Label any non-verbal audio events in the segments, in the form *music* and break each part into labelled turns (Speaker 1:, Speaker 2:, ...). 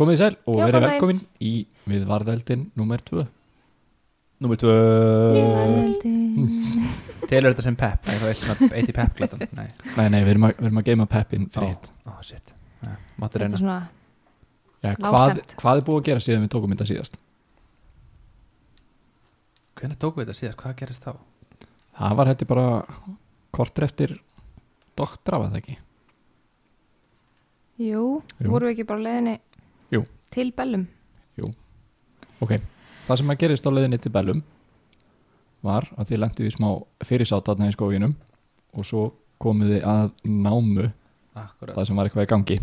Speaker 1: Komið sæl og
Speaker 2: Já,
Speaker 1: verið
Speaker 2: góðan
Speaker 1: velkomin í Við varðeldin nummer 2
Speaker 3: Númer tvö
Speaker 2: Eh,
Speaker 3: Telur þetta sem pep Nei, það er svona eitt í pep glætan Nei,
Speaker 1: Nei, nei, við erum að, við erum að geima peppin
Speaker 3: Ó.
Speaker 1: fyrir hitt
Speaker 3: ó, shit Nei, Máttu
Speaker 2: Þetta er
Speaker 3: reyna
Speaker 2: svona
Speaker 1: ja, hvað,
Speaker 2: lágstemmt.
Speaker 1: hvað er búið að gera síðan við tókum þetta síðast?
Speaker 3: Hvernig tók við þetta síðast? Hvað gerist þá?
Speaker 1: Það var hætti bara kortur eftir doktra, var það ekki?
Speaker 2: Jú,
Speaker 1: Jú.
Speaker 2: vorum við ekki bara á leiðinni
Speaker 1: Jú.
Speaker 2: til Bellum
Speaker 1: Ok, það sem að gerist á leiðinni til Bellum var að þið lendu í smá fyrirsáttaðna í skóginum og svo komuð þið að námu
Speaker 3: Akkurat
Speaker 1: það sem var eitthvað í gangi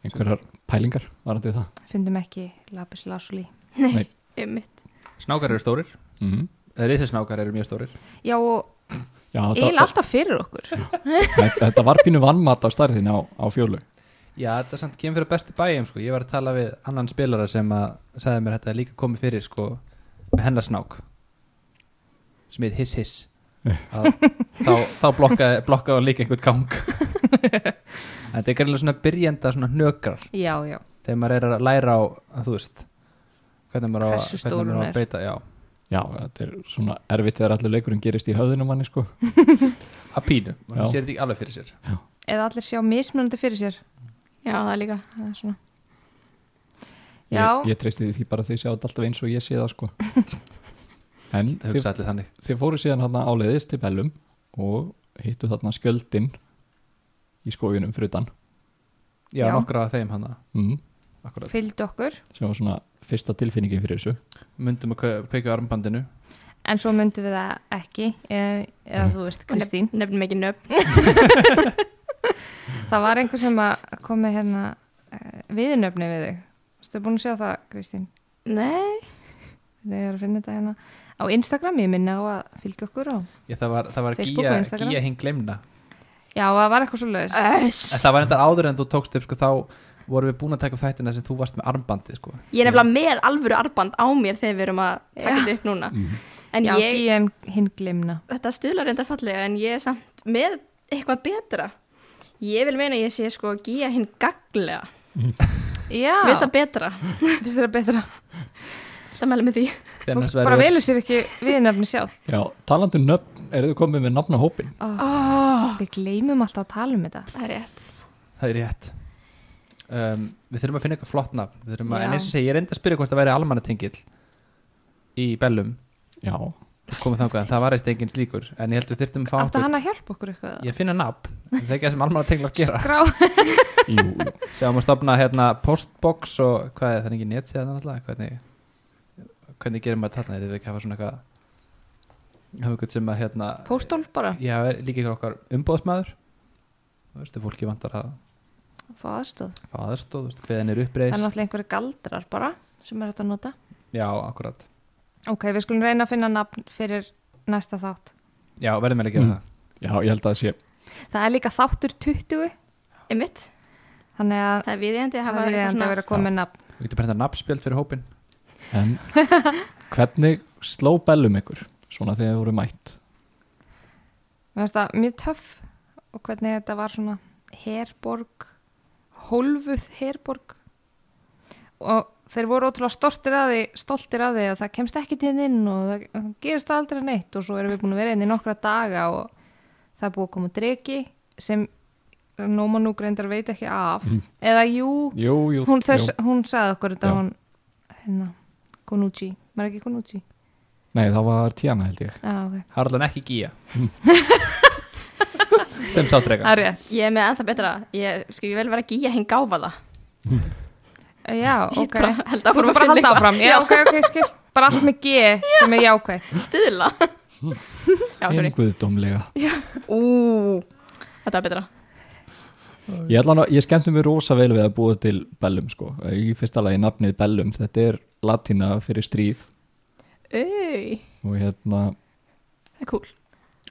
Speaker 1: einhverjar pælingar var þetta það
Speaker 2: fundum ekki Lapis Lazuli
Speaker 1: Nei.
Speaker 2: *laughs* einmitt.
Speaker 3: Snákar eru stórir
Speaker 1: mm -hmm.
Speaker 3: Rísisnákar eru mjög stórir
Speaker 2: Já, og
Speaker 1: Já,
Speaker 2: eil
Speaker 1: þetta,
Speaker 2: alltaf fyrir okkur
Speaker 1: þetta, þetta var pínu vannmat á stærðin á, á fjólu
Speaker 3: Já, þetta samt kemur fyrir bestu bæjum sko. Ég var að tala við annan spilara sem að sagði mér að þetta er líka komið fyrir sko, með hennar snák sem heit hiss hiss að, þá, þá blokkaði, blokkaði hann líka einhvern gang *laughs* Þetta er gæmlega svona byrjenda svona hnökrar
Speaker 2: Já, já,
Speaker 3: þegar maður er að læra á, að þú veist hvernig maður á,
Speaker 2: Hversu stór
Speaker 3: hvernig maður á
Speaker 2: hún er.
Speaker 3: að beita já,
Speaker 1: Já, þetta er svona erfitt þegar allur leikurinn gerist í höfðinu manni sko
Speaker 3: að pínu,
Speaker 1: Já.
Speaker 3: maður sér þetta ekki alveg fyrir sér
Speaker 2: eða allir sjá mismunandi fyrir sér
Speaker 4: Já, það líka.
Speaker 2: Það er svona Já.
Speaker 1: ég, ég treysti því bara að þið sjá þetta alltaf eins og ég sé það sko En
Speaker 3: það
Speaker 1: þið,
Speaker 3: hugsa allir þannig
Speaker 1: þið fóru síðan hérna áleiðis til Bellum og hittu þarna skjöldin í skóginum frutan
Speaker 3: já,
Speaker 2: Já.
Speaker 3: nokkra af þeim hann
Speaker 1: mm,
Speaker 3: akkurat,
Speaker 2: fylgdu okkur,
Speaker 1: sem var svona fyrsta tilfinningin fyrir þessu
Speaker 3: myndum að kve- kveika á armbandinu
Speaker 2: en svo myndum við það ekki eða, eða þú veist, Kristín
Speaker 4: Nef- Nefnum ekki nöfn.
Speaker 2: Það var einhver sem að kom með hérna eh, viðnöfni við þig Þú búin að sjá það, Kristín
Speaker 4: Nei.
Speaker 2: Þegar ég er að finna þetta hérna á Instagram, ég minna á að fylgja okkur á
Speaker 3: já, það var, það var
Speaker 2: Facebook og
Speaker 3: gíja,
Speaker 2: Instagram.
Speaker 3: gíja hinn glemna
Speaker 2: Já, það var eitthvað svo leiðis
Speaker 3: En
Speaker 4: Öss.
Speaker 3: það var enda áður en þú tókst upp sko, þá vorum við búin að taka upp þættina sem þú varst með armbandi sko.
Speaker 4: Ég er nefnilega með alvöru arband á mér þegar við erum að taka
Speaker 2: Já.
Speaker 4: þetta upp núna.
Speaker 1: mm.
Speaker 4: En
Speaker 2: Já,
Speaker 4: ég,
Speaker 2: ég hinn glimna
Speaker 4: þetta stuðlar reynda fallega, en ég er samt með eitthvað betra. Ég vil meina að ég sé sko að gíja hinn gaglega.
Speaker 2: Já,
Speaker 4: Mér finnst það betra.
Speaker 2: finnst það betra
Speaker 4: Sammæli með því.
Speaker 3: Þegar annars
Speaker 2: Fólk
Speaker 3: verður-
Speaker 2: bara velur sér ekki viðnöfni sjálf
Speaker 1: Já, talandu nöfn, eru þið komið með nafnahópin?
Speaker 2: oh,
Speaker 4: Oh.
Speaker 2: Við gleymum alltaf að tala um þetta
Speaker 4: Það er rétt.
Speaker 3: það er rétt um, við þurfum að finna eitthvað flott nafn Við þurfum að, en
Speaker 2: Já.
Speaker 3: eins og segja, ég reyndi að spyrja hvort það væri almannatengill í Bellum
Speaker 1: Já,
Speaker 3: komið þangað, en það var eist engin slíkur en ég held við þyrftum að fá
Speaker 2: Áttu
Speaker 3: okkur-
Speaker 2: hann að hjálpa okkur eitthvað?
Speaker 3: ég finna nafn, en það er ekki það sem almannatenglar gera
Speaker 2: Skrá
Speaker 1: jú, jú.
Speaker 3: Sjáum að stopna hérna postbox og hvað er það er ekki netsíðan alltaf hvernig, hvernig gerir maður þarna er þið ekki að hafa svona eitthvað hafa eitthvað sem að hérna
Speaker 2: Póstól bara
Speaker 3: ég hafa líka ykkur okkar umbóðsmaður þú veist, ef fólki vantar að
Speaker 2: Fá aðstóð
Speaker 3: fá aðstóð, þú veist, hverðin er
Speaker 2: Það er
Speaker 3: uppreist
Speaker 2: náttúrulega einhverju galdrar bara sem er hægt að nota
Speaker 3: já, akkurat,
Speaker 2: Ok, við skulum reyna að finna nafn fyrir næsta þátt
Speaker 3: já, verðum við að gera
Speaker 1: Mm. já, ég held að það sé
Speaker 2: Það er líka þáttur 20
Speaker 4: Einmitt.
Speaker 2: Þannig að
Speaker 4: Það er viðjandi að
Speaker 2: það
Speaker 4: hafa
Speaker 2: er
Speaker 4: eitthvað
Speaker 2: reynd að
Speaker 4: svona.
Speaker 2: vera að koma með nafn
Speaker 3: það við getum brenda nafnspjöld fyrir hópin
Speaker 1: En *laughs* hvernig sló Bellum ykkur svona þegar þið voru mætt?
Speaker 2: Mér finnst það mjög töff og hvernig þetta var svona herborg, hólfuð herborg og þeir voru ótrúlega stoltir að því, stoltir að því að það kemst ekki til inn og það það gerist aldrei neitt og svo erum við búin að vera inn í nokkra daga og það er búið að koma dregi sem Nóma nú greindar veit ekki af eða jú,
Speaker 1: Jú, Mhm. jú,
Speaker 2: hún, þess,
Speaker 1: jú.
Speaker 2: hún sagði okkur þetta
Speaker 1: Já.
Speaker 2: hún, hérna, Konucci, maður ekki Konucci?
Speaker 1: Nei, það var Tiana held ég
Speaker 2: Já, ah, ok,
Speaker 3: það er allan ekki gíja sem sátrega
Speaker 2: það er rétt
Speaker 4: Ég er með ennþá betra. Ég, sko, ég vil vera að gíja hinn gáfa það.
Speaker 2: Já,
Speaker 4: Ég
Speaker 2: ok
Speaker 4: bara held
Speaker 2: Þú ert
Speaker 4: áfram
Speaker 2: bara að
Speaker 4: að finna
Speaker 2: halda
Speaker 4: eitthvað.
Speaker 2: áfram, já, ok, ok, skil bara allt með G sem er jákvætt
Speaker 4: Stuðla. *laughs* Já, sorry.
Speaker 1: Einhverðdómlega
Speaker 4: Ú, þetta er betra.
Speaker 1: Ég, ætla nú- ég skemmti mér rosa vel við að búa til Bellum sko Í fyrsta lagi nafnið Bellum Þetta er latína fyrir stríð
Speaker 4: Au,
Speaker 1: Og hérna
Speaker 4: það er cool.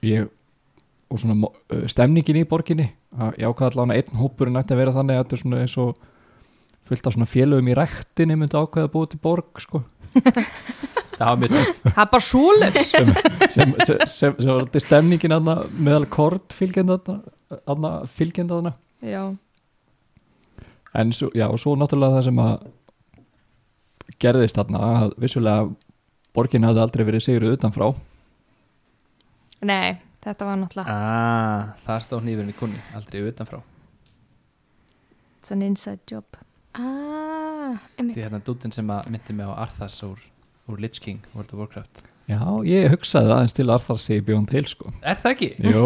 Speaker 1: ég, Og svona mo- ö, stemningin í borginni að Ég ákvað allan að einn hópurinn ætti að vera þannig að Þetta er svona eins og fullt af svona félögum í ræktinni myndu ákveða að búa til borg sko
Speaker 3: það var mjög töff.
Speaker 2: Það er bara svoleiðs
Speaker 1: sem, sem, sem, sem, sem var alltaf stemningin aðna, meðal kort fylgjenda aðna, fylgjenda aðna
Speaker 2: Já,
Speaker 1: en svo, já, og svo náttúrulega það sem að gerðist þarna að vissulega borgin hafði aldrei verið sigruð utanfrá
Speaker 2: Nei, þetta var náttúrulega
Speaker 3: ah, það stóð nýfurinn í kunni aldrei utanfrá
Speaker 2: It's an inside job
Speaker 4: Ah,
Speaker 3: því
Speaker 4: einmitt.
Speaker 3: þarna dútin sem að myndi mig á Arthas úr, úr Lich King, World of Warcraft
Speaker 1: já, ég hugsaði aðeins til Arthur sig bjón til sko
Speaker 3: er það ekki?
Speaker 1: Jó,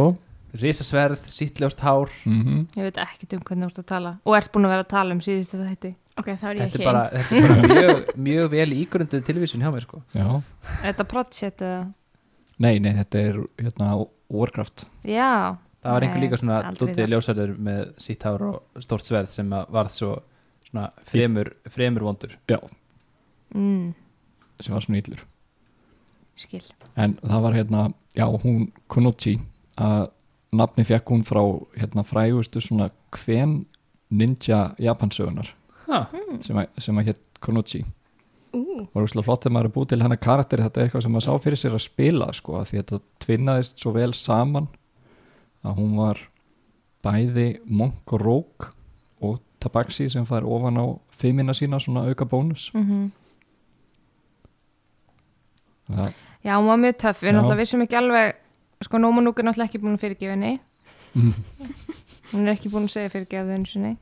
Speaker 3: risasverð, sittljóst hár
Speaker 1: mm
Speaker 2: Ég veit ekki um hvernig þú ert að tala og ert búin að vera að tala um síðustu þetta
Speaker 4: Ok, þá er ég
Speaker 3: þetta er
Speaker 4: ekki
Speaker 3: bara, þetta er bara mjög, mjög vel ígrunduð tilvísun hjá mér sko
Speaker 1: já
Speaker 2: Þetta project eða
Speaker 1: Nei, nei, þetta er hérna Warcraft
Speaker 2: Já,
Speaker 3: það var einhver
Speaker 2: Nei,
Speaker 3: líka svona
Speaker 2: aldrei
Speaker 3: dútið
Speaker 2: þar.
Speaker 3: ljósarður með sitt hár og stórt sverð sem að varð svo svona fremur, fremur vondur
Speaker 2: mm,
Speaker 1: sem var svona illur
Speaker 2: skil
Speaker 1: en það var hérna, já, hún Kunuchi að nafni fekk hún frá hérna frægustu svona kven ninja japansögunar
Speaker 3: ha,
Speaker 1: sem að, sem að hétt Kunuchi
Speaker 4: Ú,
Speaker 1: var úrslega flott þegar maður er búið til hennar karakteri þetta er eitthvað sem maður sá fyrir sér að spila sko, af því þetta tvinnaðist svo vel saman að hún var bæði monk og rók og tabaxi sem fær ofan á fimmina sína svona auka bónus
Speaker 2: mm
Speaker 1: það,
Speaker 2: Já, hún var mjög töff, við
Speaker 1: Já.
Speaker 2: náttúrulega vissum ekki alveg sko Nómanúk er náttúrulega ekki búin að fyrirgefa henni hún er ekki búin að segja fyrirgefa henni sinni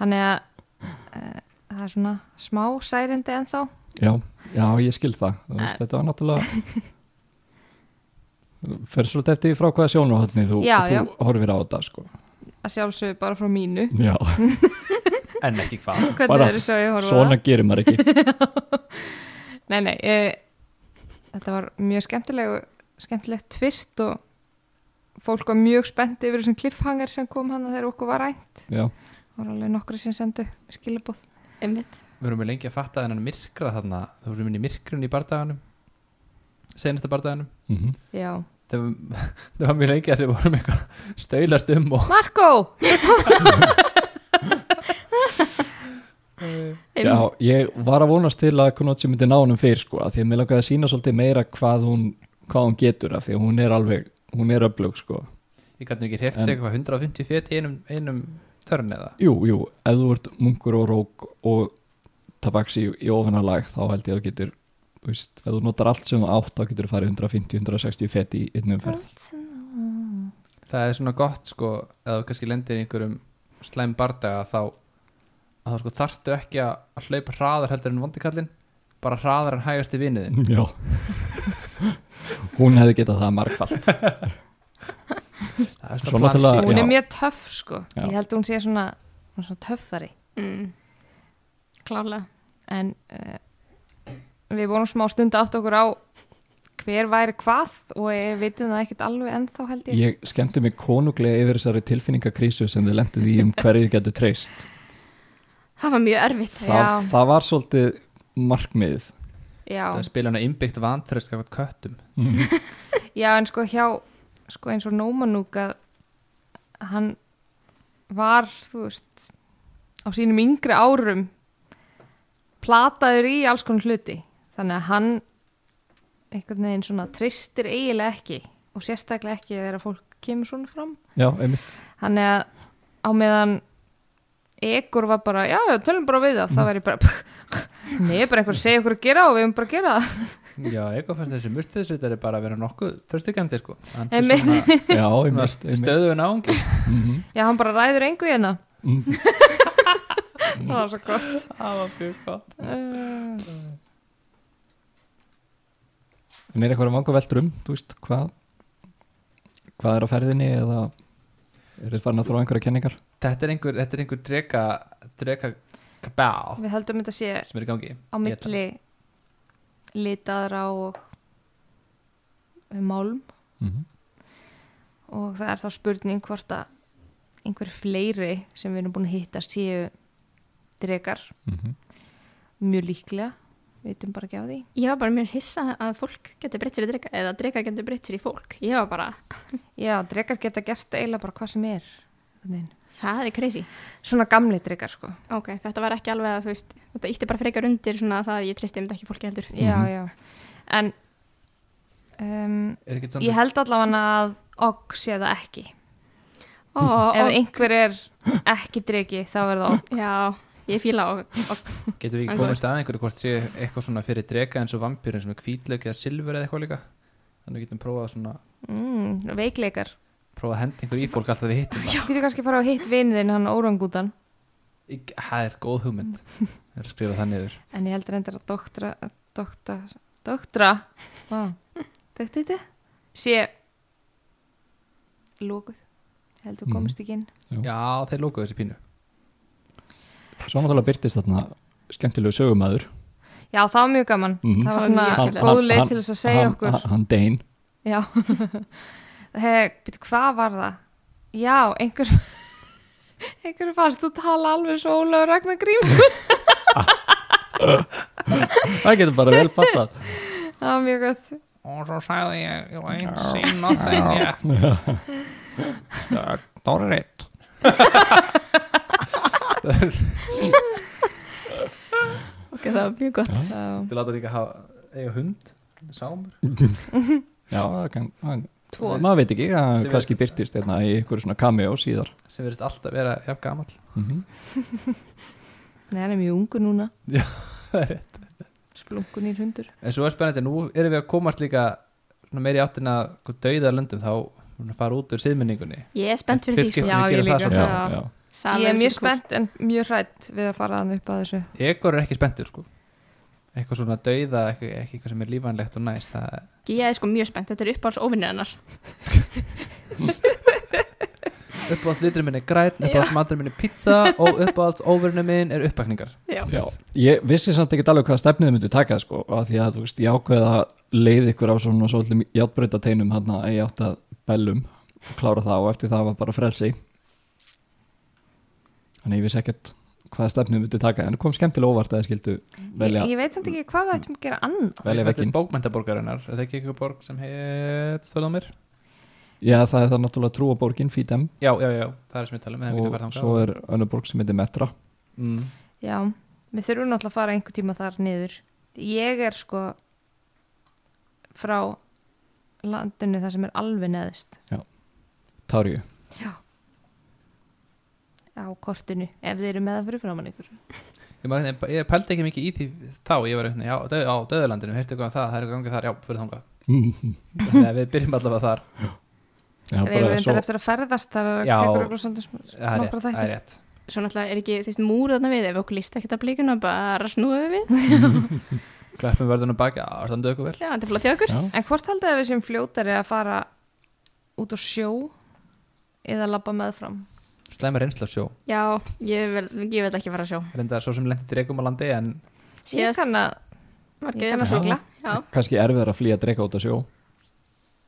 Speaker 2: þannig að uh, það er svona smá særindi ennþá
Speaker 1: já, já, ég skil það, það veist, þetta var náttúrulega fer svolítið eftir því frá hvaða sjónuhaldni þú,
Speaker 2: Já,
Speaker 1: þú
Speaker 2: já.
Speaker 1: horfir á þetta sko.
Speaker 2: að sjálfsögðu bara frá
Speaker 1: *clears throat*
Speaker 2: mínu
Speaker 1: já,
Speaker 3: en ekki hvað
Speaker 2: hvernig
Speaker 1: Bara
Speaker 2: eru svo ég horfa á
Speaker 1: *laughs* svona gerir maður
Speaker 2: *laughs*
Speaker 1: ekki
Speaker 2: það nei, nei, e, þetta var mjög skemmtileg skemmtilegt tvist og fólk var mjög spennt yfir þessum cliffhanger sem kom hann þegar okkur var rænt
Speaker 1: já,
Speaker 2: það voru alveg nokkru sem sendu skilabóð
Speaker 4: einmitt.
Speaker 3: við vorum lengi að fatta þennan myrkra þarna við vorum inn í myrkrun í bardaganum senasta bardaganum
Speaker 1: mm
Speaker 2: já,
Speaker 3: það var- *laughs* það var mjög lengi að sem vorum eitthvað stöylast um og
Speaker 2: Marko
Speaker 1: Já,
Speaker 4: einmitt.
Speaker 1: ég var að vonast til að Konochi myndi ná honum fyrr sko, af því að mér langaði að sína svolítið meira hvað hún, hvað hún getur af því að hún er alveg, hún er öflug sko.
Speaker 3: ég gæti ekki hreift
Speaker 1: En-
Speaker 3: sig eitthvað 150 fet í einum, einum törn eða
Speaker 1: Jú, jú, ef þú ert munkur og rók og tabaksi í, í ofanalag þá held ég að þú getur, þú veist, ef þú notar allt sem þú átt þá getur þú farið 150-160 fett í einnum ferð.
Speaker 3: það er svona gott sko eða þú kannski lendir í einhverjum slæm bardaga þá að þá sko þarftu ekki að- að hlaupa hraðar heldur en vondikallin bara hraðar en hægasti vinniðin
Speaker 1: Já. *laughs* hún hefði getað það margfald.
Speaker 3: það er
Speaker 1: Svona
Speaker 3: svona
Speaker 1: til að-
Speaker 3: plansi
Speaker 2: hún
Speaker 1: Ah, Já.
Speaker 2: er mjög töff sko
Speaker 1: Já.
Speaker 2: ég held að hún sé svona, hún er svona töffari
Speaker 4: Mm. Klála.
Speaker 2: en uh, við vorum smá stund átt okkur á hver væri hvað og við vitum það ekkert alveg ennþá held ég,
Speaker 1: Ég skemmti mig konunglega yfir þessari tilfinningakrísu sem þið lenduð í um hverju þið getur treyst.
Speaker 4: Það var mjög erfitt.
Speaker 1: Það,
Speaker 2: Já.
Speaker 1: það var svolítið markmiðið.
Speaker 3: það
Speaker 2: já,
Speaker 3: spila hana innbyggt vantröst hvað köttum
Speaker 2: já en sko hjá sko eins og Nómanúk að hann var þú veist á sínum yngri árum plataður í alls konar hluti þannig að hann einhvern veginn svona tristir eiginlega ekki og sérstaklega ekki þegar fólk kemur svona fram
Speaker 1: Já, einmitt.
Speaker 2: *laughs* Þannig að á meðan Egur var bara, já, já, tölum bara við það þá væri bara, nei, bara einhver að segja okkur að gera og við höfum bara að gera það
Speaker 3: já, eitthvað fannst þessi mustuðsvitari bara að vera nokkuð þörstugæmdi sko Hann sé
Speaker 2: Einmitt.
Speaker 3: svona-
Speaker 1: Já,
Speaker 3: svona
Speaker 1: einmitt, einmitt.
Speaker 3: stöðu náungi
Speaker 1: Mhm.
Speaker 2: Já, hann bara ræður engu hérna
Speaker 1: Mm.
Speaker 2: Það var svo gott
Speaker 3: það var mjög gott
Speaker 2: uh,
Speaker 1: En er eitthvað vanga veldur um, þú veist, hvað hvað er á ferðinni eða er þið farin að þróa einhverja kenningar?
Speaker 3: þetta er einhver, þetta er einhver drega drega kabá
Speaker 2: Við höldum þetta sé
Speaker 3: sem er í gangi
Speaker 2: á milli litaðra og um málm
Speaker 1: Mhm,
Speaker 2: og það er þá spurning hvort að einhver fleiri sem við erum búin að hitta séu drekar,
Speaker 1: mhm.
Speaker 2: mjög líklega við vitum bara ekki á því
Speaker 4: Ég var bara mjög hissa að fólk getur breytt sér í drega eða drega getur breytt sér í fólk. Ég var bara,
Speaker 2: Já, drekar geta gert eiginlega bara hvað sem er. einhvern veginn.
Speaker 4: það er crazy.
Speaker 2: Svona gamli drekar, sko.
Speaker 4: Ok, þetta var ekki alveg að þú veist, þetta ítti bara frekar undir svona það að ég treysti um þetta ekki fólki heldur.
Speaker 2: Já,
Speaker 1: Mhm.
Speaker 2: já. En um,
Speaker 3: er ekki
Speaker 2: ég
Speaker 3: svona
Speaker 2: held allavega að ogg sé það ekki.
Speaker 4: Ó,
Speaker 2: Ef
Speaker 4: ó,
Speaker 2: einhver er ekki dregi þá er það ok.
Speaker 4: já, ég fíla og, og
Speaker 3: Getum við ekki
Speaker 4: Akkurat.
Speaker 3: komist að einhverju hvort sé eitthvað svona fyrir drega eins og vampýrin sem er hvítlauk eða silfur eða eitthvað líka Þannig við getum prófað svona
Speaker 2: mm, veikleikar.
Speaker 3: prófað að henda einhver í fólk alltaf við hittum það.
Speaker 2: Þú getur kannski að fara á hitt vinnin hann órangútan
Speaker 3: Í- Það er góð hugmynd Það er að skrifa það niður
Speaker 2: en ég heldur endur að doktra doktra, doktra wow. doktra þetta sé lókuð heldur
Speaker 1: Mhm.
Speaker 2: komist ekki inn
Speaker 3: Já, þeir lókuðu þessi pínu
Speaker 1: Svo náttúrulega byrtist þarna skemmtilegu sögumæður
Speaker 2: já það var mjög gaman
Speaker 1: Mhm.
Speaker 2: það var
Speaker 4: Það var
Speaker 2: svona
Speaker 4: mjög
Speaker 2: Mm. hann,
Speaker 4: skemmtilegt.
Speaker 2: góð leið til þess að segja
Speaker 1: hann,
Speaker 2: okkur
Speaker 1: hann, hann Dane
Speaker 2: já *laughs* hey, byrju, hvað var það já einhver *laughs* einhver fannst þú tala alveg svo Ólafur Ragnar Gríms *laughs*
Speaker 1: Það getur bara vel
Speaker 2: *laughs*
Speaker 1: passað
Speaker 2: það var mjög gott
Speaker 3: Og svo sagði ég, ég var einn sín og þegar
Speaker 1: Það er rétt
Speaker 4: ok, það var mjög gott
Speaker 2: Þá-
Speaker 3: Þú láta líka hafa, eiga hund, sámur
Speaker 1: Já, það kann, hann,
Speaker 2: Tvo.
Speaker 1: maður veit ekki, það
Speaker 3: Sem
Speaker 1: kannski byrtist hérna, í einhverju svona cameo síðar
Speaker 3: sem verðist alltaf vera jafn gamall
Speaker 1: mm
Speaker 2: nei hann er mjög ungu núna
Speaker 3: *laughs* Það er rétt.
Speaker 2: splunkun í hundur
Speaker 3: En svo er spennandi, nú erum við að komast líka svona meiri áttina döiða löndum þá erum við að fara út úr siðmenningunni
Speaker 4: ég er spennt fyrir
Speaker 3: Fyrst
Speaker 4: því
Speaker 3: skipti
Speaker 4: sko.
Speaker 2: Já,
Speaker 3: sem við
Speaker 2: ég
Speaker 3: gerum
Speaker 1: já,
Speaker 2: líka.
Speaker 3: það samt.
Speaker 4: Já.
Speaker 1: já.
Speaker 4: Það
Speaker 2: ég er
Speaker 4: verður
Speaker 2: mjög
Speaker 4: svo sko, kúl.
Speaker 2: spennt en mjög hrætt við að fara hann upp að þessu
Speaker 3: Egor er ekki spenntur sko eitthvað svona döiða, ekki, ekki eitthvað sem er lífanlegt og næst það,
Speaker 4: ég er sko mjög spennt, þetta er uppáhalds óvinnir hennar
Speaker 3: uppáhalds liturinn minn er græn, uppáhalds maturinn minn er
Speaker 2: *laughs*
Speaker 3: pizza og uppáhalds óvurinn minn er uppakningar
Speaker 4: já,
Speaker 1: Já, ég vissi samt ekki alveg hvaða stefnið þið myndi taka sko, af því að þú veist, ég ákveða að leið ykkur á svona svolítið játbrautateinum hann að ég átt að bellum og klára það og eftir það var bara frelsi Þannig ég vissi ekkert hvaða stefnið þið myndi taka en það kom skemmtilega óvart að þið skildu velja,
Speaker 2: ég, ég veit samt ekki hvað við ættum að gera annað
Speaker 1: velja
Speaker 3: Þetta er
Speaker 1: vekkin
Speaker 3: bókmentaborgarinnar, er það ekki eitthvað borg sem heit, stóðum mér?
Speaker 1: Já, það er það náttúrulega trúaborgin, Fídem
Speaker 3: Já, já, já, það er sem ég tala um, það er mítið að
Speaker 1: og
Speaker 3: fara
Speaker 1: svo er önnur borg sem heitir Metra
Speaker 3: mm.
Speaker 2: já, við þurfum náttúrulega að fara einhver tíma þar niður ég er sko frá landinu þar sem er alveg neðist
Speaker 1: Tárju
Speaker 2: á kortinu, ef þið eru með að fyrir framann ykkur
Speaker 3: Ég, maður, ég, ég pældi ekki mikið í því þá, ég var eitthvað, já, döð, á döðurlandinu, heyrtu eitthvað um það, það er eitthvað gangið þar, já, fyrir þangað
Speaker 1: Mhm.
Speaker 3: Þannig að við byrjum allavega þar
Speaker 1: Já,
Speaker 2: ef við erum
Speaker 1: bara
Speaker 2: reyndar
Speaker 1: svo
Speaker 2: eftir að ferðast þar
Speaker 3: Já.
Speaker 2: tekur okkur svolítið sm-
Speaker 3: Það er rétt,
Speaker 2: nokkra
Speaker 3: það er
Speaker 2: þættir
Speaker 3: rétt
Speaker 4: svo náttúrulega er ekki þessi múr þarna við ef okkur líst ekkert að blíkuna, bara snúðum við
Speaker 3: Klöppum verðunum baki, já, standu okkur vel
Speaker 4: já, þetta er flott hjá okkur
Speaker 1: Já.
Speaker 2: en hvort haldið að við séum fljótari að fara út á sjó eða labba meðfram
Speaker 3: Slæma reynsla á sjó,
Speaker 4: já, ég vil, ég vil ekki fara að sjó
Speaker 3: reyndar svo sem lendi dregum á landi en
Speaker 2: ég
Speaker 4: síðast
Speaker 2: kann að
Speaker 4: var
Speaker 2: ég
Speaker 4: ekki
Speaker 2: kann
Speaker 4: þeim
Speaker 2: að
Speaker 4: að
Speaker 1: sigla.
Speaker 4: sigla já,
Speaker 1: kannski erfiðar að flýja að drega út að sjó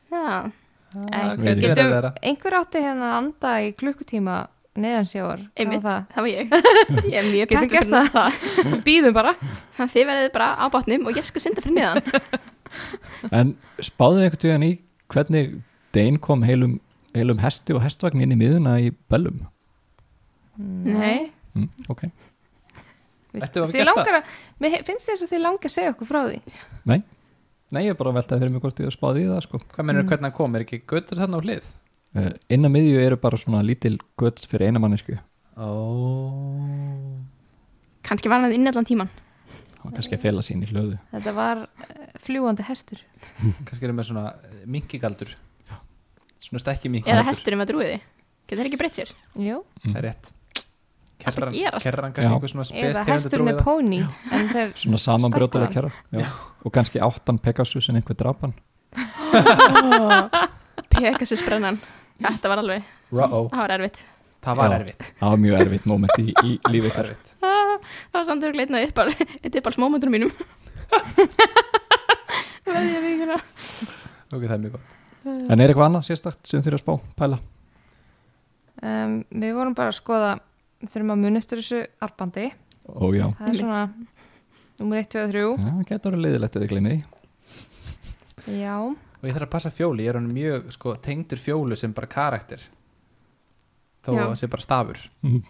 Speaker 4: já,
Speaker 3: Ah,
Speaker 2: Nei,
Speaker 1: gæti
Speaker 2: við
Speaker 1: verið
Speaker 2: getum,
Speaker 3: verra.
Speaker 2: einhver átti hérna að anda í klukkutíma neðansjáar
Speaker 4: einmitt,
Speaker 2: það.
Speaker 4: það var *laughs* ég ég er mjög
Speaker 2: Getum
Speaker 4: peppið
Speaker 2: gert
Speaker 4: fyrir það, það. *laughs*
Speaker 2: býðum bara
Speaker 4: Ha, Þið verðið bara á bátnum og ég skal synda fyrir niðan
Speaker 1: En spáðu einhvern tíðan í hvernig Dane kom heilum, heilum hesti og hestvagn inn í miðuna í Bellum?
Speaker 4: *laughs* Nei,
Speaker 1: Mm, ok.
Speaker 2: Vilt-
Speaker 3: Ættum við að
Speaker 2: Þið
Speaker 3: gera það?
Speaker 2: langar að, mér he- finnst þess að þið langar að segja okkur frá því
Speaker 1: Nei? Nei, ég er bara að veltaði fyrir mig hvort ég spáði í það, sko.
Speaker 3: Hvað mennur hvernig hann kom, er ekki göttur þarna á hlið?
Speaker 1: Uh, innan miðju eru bara svona lítil gött fyrir eina mannesku.
Speaker 3: Ó
Speaker 4: kannski var hann inn allan tíman
Speaker 1: Það var kannski að fela sín í hlöðu.
Speaker 2: þetta var eh, fljúandi hestur
Speaker 3: Kannski erum við svona eh, minkigaldur Svona stekki
Speaker 4: Eða
Speaker 3: minkigaldur
Speaker 4: hesturum að drúiði Getur það ekki breytt *laughs* sér?
Speaker 2: Jú.
Speaker 3: Það er rétt Kerran,
Speaker 4: gerast.
Speaker 3: kerran
Speaker 1: Já.
Speaker 3: kannski einhver svona spes
Speaker 2: eða
Speaker 3: tegundu
Speaker 2: hestur með
Speaker 3: dróið
Speaker 2: póni en þeir
Speaker 1: Svona samanbrjótaða
Speaker 2: Stækkaðan.
Speaker 1: kjara. Já. Og kannski áttan Pegasus en einhver drapan.
Speaker 4: Pegasus brennan Þetta var alveg,
Speaker 3: Rá-ó,
Speaker 4: það var erfitt
Speaker 3: það var
Speaker 1: Já.
Speaker 3: erfitt
Speaker 1: Það var mjög erfitt moment í, í lífi
Speaker 3: Það var
Speaker 1: ykkar.
Speaker 3: erfitt
Speaker 4: Ah, Það var samt að gleitna upp *laughs* alveg Þetta er bara smómundunum mínum Verði ég að hérna? vikuna
Speaker 3: Ok, það er mjög gott
Speaker 1: En er eitthvað annað sérstakt sem þurfa að spá? Pæla?
Speaker 2: um, við vorum bara að skoða við þurfum að muni eftir þessu arbandi
Speaker 1: Ó já.
Speaker 2: það er svona nummer 1, 2 og
Speaker 1: Já, getur að leiðilegt eða glemni því.
Speaker 2: 3 já,
Speaker 3: Og ég þarf að passa fjóli, ég er hann mjög sko, tengdur fjólu sem bara karakter þó
Speaker 4: Já.
Speaker 3: að hann sé bara stafur
Speaker 1: Mhm.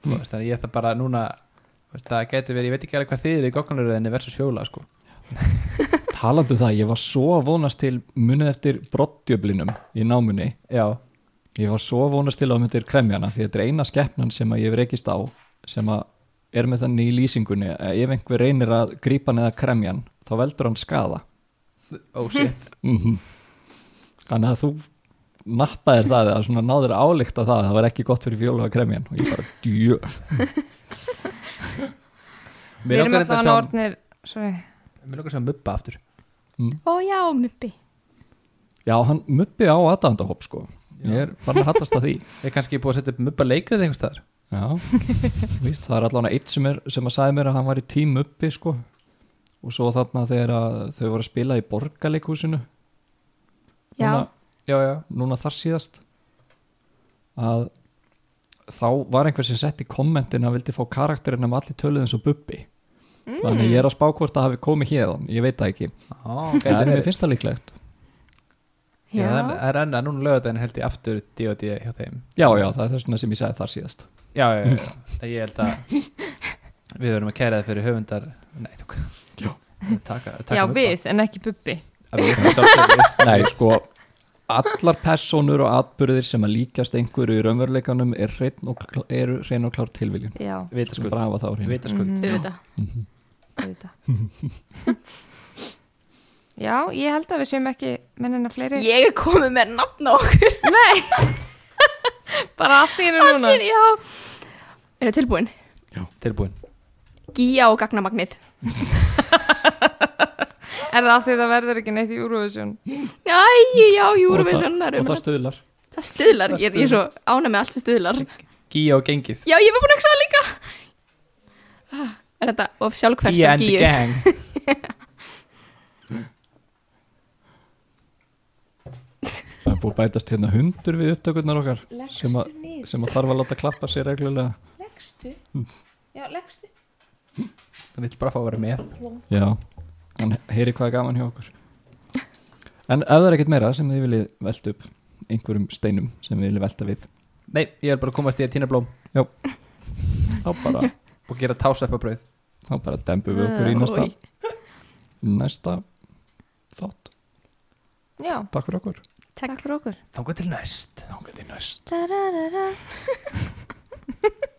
Speaker 3: Þú veist, Þannig að ég þarf bara núna þú veist, það geti verið, ég veit ekki alveg hvað þið eru í gogganuröðinni versus fjóla sko.
Speaker 1: Talandi um það, ég var svo að vonast til munið eftir brottjöflinum í námunni
Speaker 3: Já,
Speaker 1: ég var svo vonast til að það myndir kremjana því þetta er eina skeppnan sem að ég hef reykist á sem að er með þannig í lýsingunni að ef einhver reynir að grípa neða kremjan þá veldur hann skada
Speaker 3: oh *laughs* shit
Speaker 1: Mhm. Þannig að þú nappaðir það eða svona náður álíkt að það það var ekki gott fyrir fjólu að kremja og ég bara djö
Speaker 2: Við
Speaker 3: Mér
Speaker 2: erum
Speaker 3: langar
Speaker 2: alltaf
Speaker 3: þetta
Speaker 2: hann
Speaker 3: að sjá
Speaker 2: orðnir, sorry,
Speaker 3: Mér langar að sjá mubba aftur
Speaker 4: Ó já, muppi.
Speaker 1: Já, hann muppi á aðdæmdahopp sko ég er farin að hallast að því
Speaker 3: Ég er kannski búið að setja upp mubba leikrið einhvers staðar
Speaker 1: Já, *laughs* víst, það er allavega eitt sem, er, sem að sagði mér að hann var í tím uppi sko og svo þarna þegar að þau voru að spila í borgarleikhúsinu
Speaker 4: Já.
Speaker 1: núna,
Speaker 3: Já, já
Speaker 1: núna þar síðast að þá var einhver sem setti kommentin að vildi fá karakterinn um allir töluð eins og bubbi þannig að ég er að spá hvort það hafi komið hérðan ég veit það ekki,
Speaker 3: Ó, gæti
Speaker 1: en mér
Speaker 3: verið.
Speaker 1: finnst það líklegt
Speaker 3: Já, það er- það er enn að núna lögadaginn held ég aftur D.O.D. hjá þeim
Speaker 1: já, já, það er þess vegna sem ég sagði þar síðast
Speaker 3: Já, já, já, já. Það Ég held að við verðum að kæra það fyrir höfundar Nei, tók taka, taka
Speaker 2: já
Speaker 3: Mubba.
Speaker 2: við, en ekki bubbi
Speaker 3: Að við, að sjálfsögðu við.
Speaker 1: *laughs* nei, sko, allar personur og atbyrðir sem að líkjast einhverju í raunveruleikanum er hrein og, kl- eru hrein og klár tilviljun
Speaker 2: Já,
Speaker 3: Vitaskuld
Speaker 1: brafa þá hrein
Speaker 3: Vitaskuld
Speaker 2: Mhm.
Speaker 4: Þú veit það.
Speaker 2: þetta *laughs* Já, ég held að við séum ekki mennina fleiri
Speaker 4: Ég er komið með nafn á okkur.
Speaker 2: Bara allt í einu núna
Speaker 4: Allir, já. Er það tilbúin?
Speaker 3: Tilbúin
Speaker 4: Gía og gagnamagnið.
Speaker 2: Er það af því það verður ekki neitt í Eurovision
Speaker 4: Æ, já, Eurovision.
Speaker 1: og, það, og það stuðlar
Speaker 4: um Það stuðlar, ég, ég er svo ána með allt sem stuðlar.
Speaker 3: Gíja og gengið
Speaker 4: Já, ég var búin að hugsa það líka. Ah, Er þetta of sjálfkvært
Speaker 3: Gíja
Speaker 4: af
Speaker 3: and the
Speaker 4: gíu?
Speaker 3: gang
Speaker 1: það er búið að bætast hérna hundur við upptökurnar okkar sem að, sem að þarf að láta klappa sér reglulega
Speaker 2: Leggstu Já, leggstu
Speaker 3: Það vill bara fá að vera með
Speaker 1: Já, hann heyri hvað er gaman hjá okkur En ef það er ekkert meira sem þið viljið velta upp einhverjum steinum sem þið viljið velta við
Speaker 3: Nei, ég er bara að komast í að tína blóm
Speaker 1: þá bara,
Speaker 3: og gera táseppabrauð
Speaker 1: þá bara dembum við
Speaker 4: *laughs*
Speaker 1: okkur í næsta næsta þátt
Speaker 2: Já,
Speaker 1: Takk fyrir okkur
Speaker 4: Takk.
Speaker 2: takk fyrir okkur
Speaker 3: Þangu til næst
Speaker 1: Nákvæmlega næst
Speaker 2: Da, da, da, da.